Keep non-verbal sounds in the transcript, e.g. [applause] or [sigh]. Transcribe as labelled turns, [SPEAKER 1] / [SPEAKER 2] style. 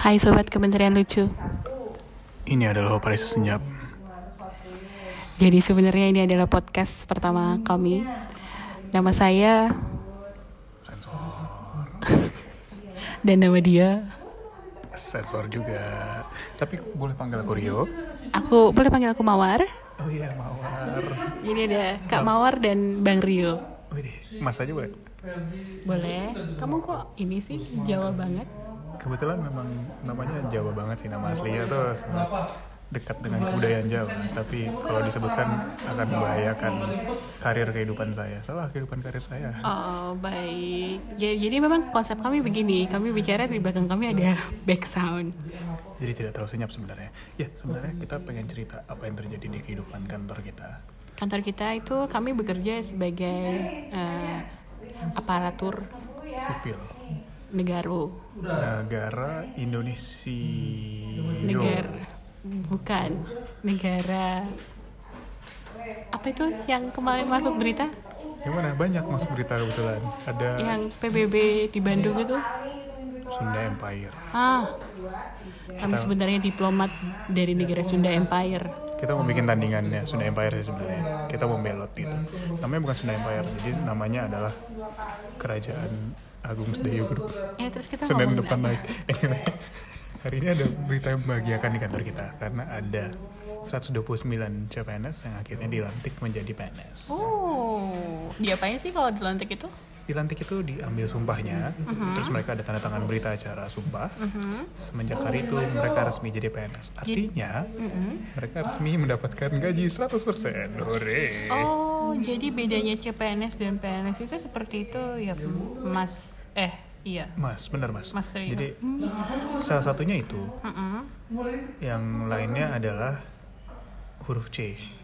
[SPEAKER 1] Hai Sobat Kementerian Lucu
[SPEAKER 2] Ini adalah operasi senyap.
[SPEAKER 1] Jadi sebenarnya ini adalah podcast pertama kami Nama saya [laughs] Dan nama dia
[SPEAKER 2] Sensor juga. Tapi boleh panggil aku Rio.
[SPEAKER 1] Aku boleh panggil aku Mawar
[SPEAKER 2] Oh iya, Mawar.
[SPEAKER 1] Ini ada Kak Mawar dan Bang Rio
[SPEAKER 2] Widih, Oh, Mas aja boleh.
[SPEAKER 1] Boleh Kamu kok ini sih Jawa banget
[SPEAKER 2] Kebetulan memang namanya Jawa banget sih nama aslinya tuh sangat dekat dengan kebudayaan Jawa. Tapi kalau disebutkan akan membahayakan karir kehidupan saya. Salah kehidupan karir saya.
[SPEAKER 1] Oh baik jadi, jadi memang konsep kami begini Kami bicara di belakang kami ada back sound
[SPEAKER 2] Jadi tidak terlalu senyap sebenarnya. Ya, sebenarnya kita pengen cerita apa yang terjadi di kehidupan kantor kita.
[SPEAKER 1] kantor kita itu kami bekerja sebagai eh, aparatur
[SPEAKER 2] Sipil.
[SPEAKER 1] negara
[SPEAKER 2] Negara Indonesia.
[SPEAKER 1] negara bukan negara apa itu yang kemarin masuk berita
[SPEAKER 2] Gimana? Banyak masuk berita kebetulan. Ada
[SPEAKER 1] yang PBB di Bandung itu
[SPEAKER 2] Sunda Empire.
[SPEAKER 1] ah kami sebenarnya diplomat dari negara Sunda Empire
[SPEAKER 2] Kita mau bikin tandingannya Sunda Empire sih sebenarnya. Kita mau belot gitu. Namanya bukan Sunda Empire, jadi namanya adalah Kerajaan Agung Sedayu Group.
[SPEAKER 1] ya terus kita
[SPEAKER 2] Senin
[SPEAKER 1] ngomong
[SPEAKER 2] depan
[SPEAKER 1] apa?
[SPEAKER 2] lagi. Anyway, hari ini ada berita yang membahagiakan di kantor kita karena ada 129 CPNS yang akhirnya dilantik menjadi PNS.
[SPEAKER 1] oh diapain sih kalau dilantik itu
[SPEAKER 2] dilantik itu diambil sumpahnya,
[SPEAKER 1] Mm-hmm.
[SPEAKER 2] terus mereka ada tanda tangan berita acara sumpah.
[SPEAKER 1] Hmm.
[SPEAKER 2] Semenjak hari itu mereka resmi jadi PNS. Artinya
[SPEAKER 1] Hmm.
[SPEAKER 2] mereka resmi mendapatkan gaji 100%. Hore.
[SPEAKER 1] Oh, jadi bedanya CPNS dan PNS itu seperti itu ya, Mas. Eh, iya.
[SPEAKER 2] Mas, benar Mas.
[SPEAKER 1] Mas Rio. Hmm.
[SPEAKER 2] Jadi salah satunya itu,
[SPEAKER 1] Mm-mm.
[SPEAKER 2] yang lainnya adalah huruf C.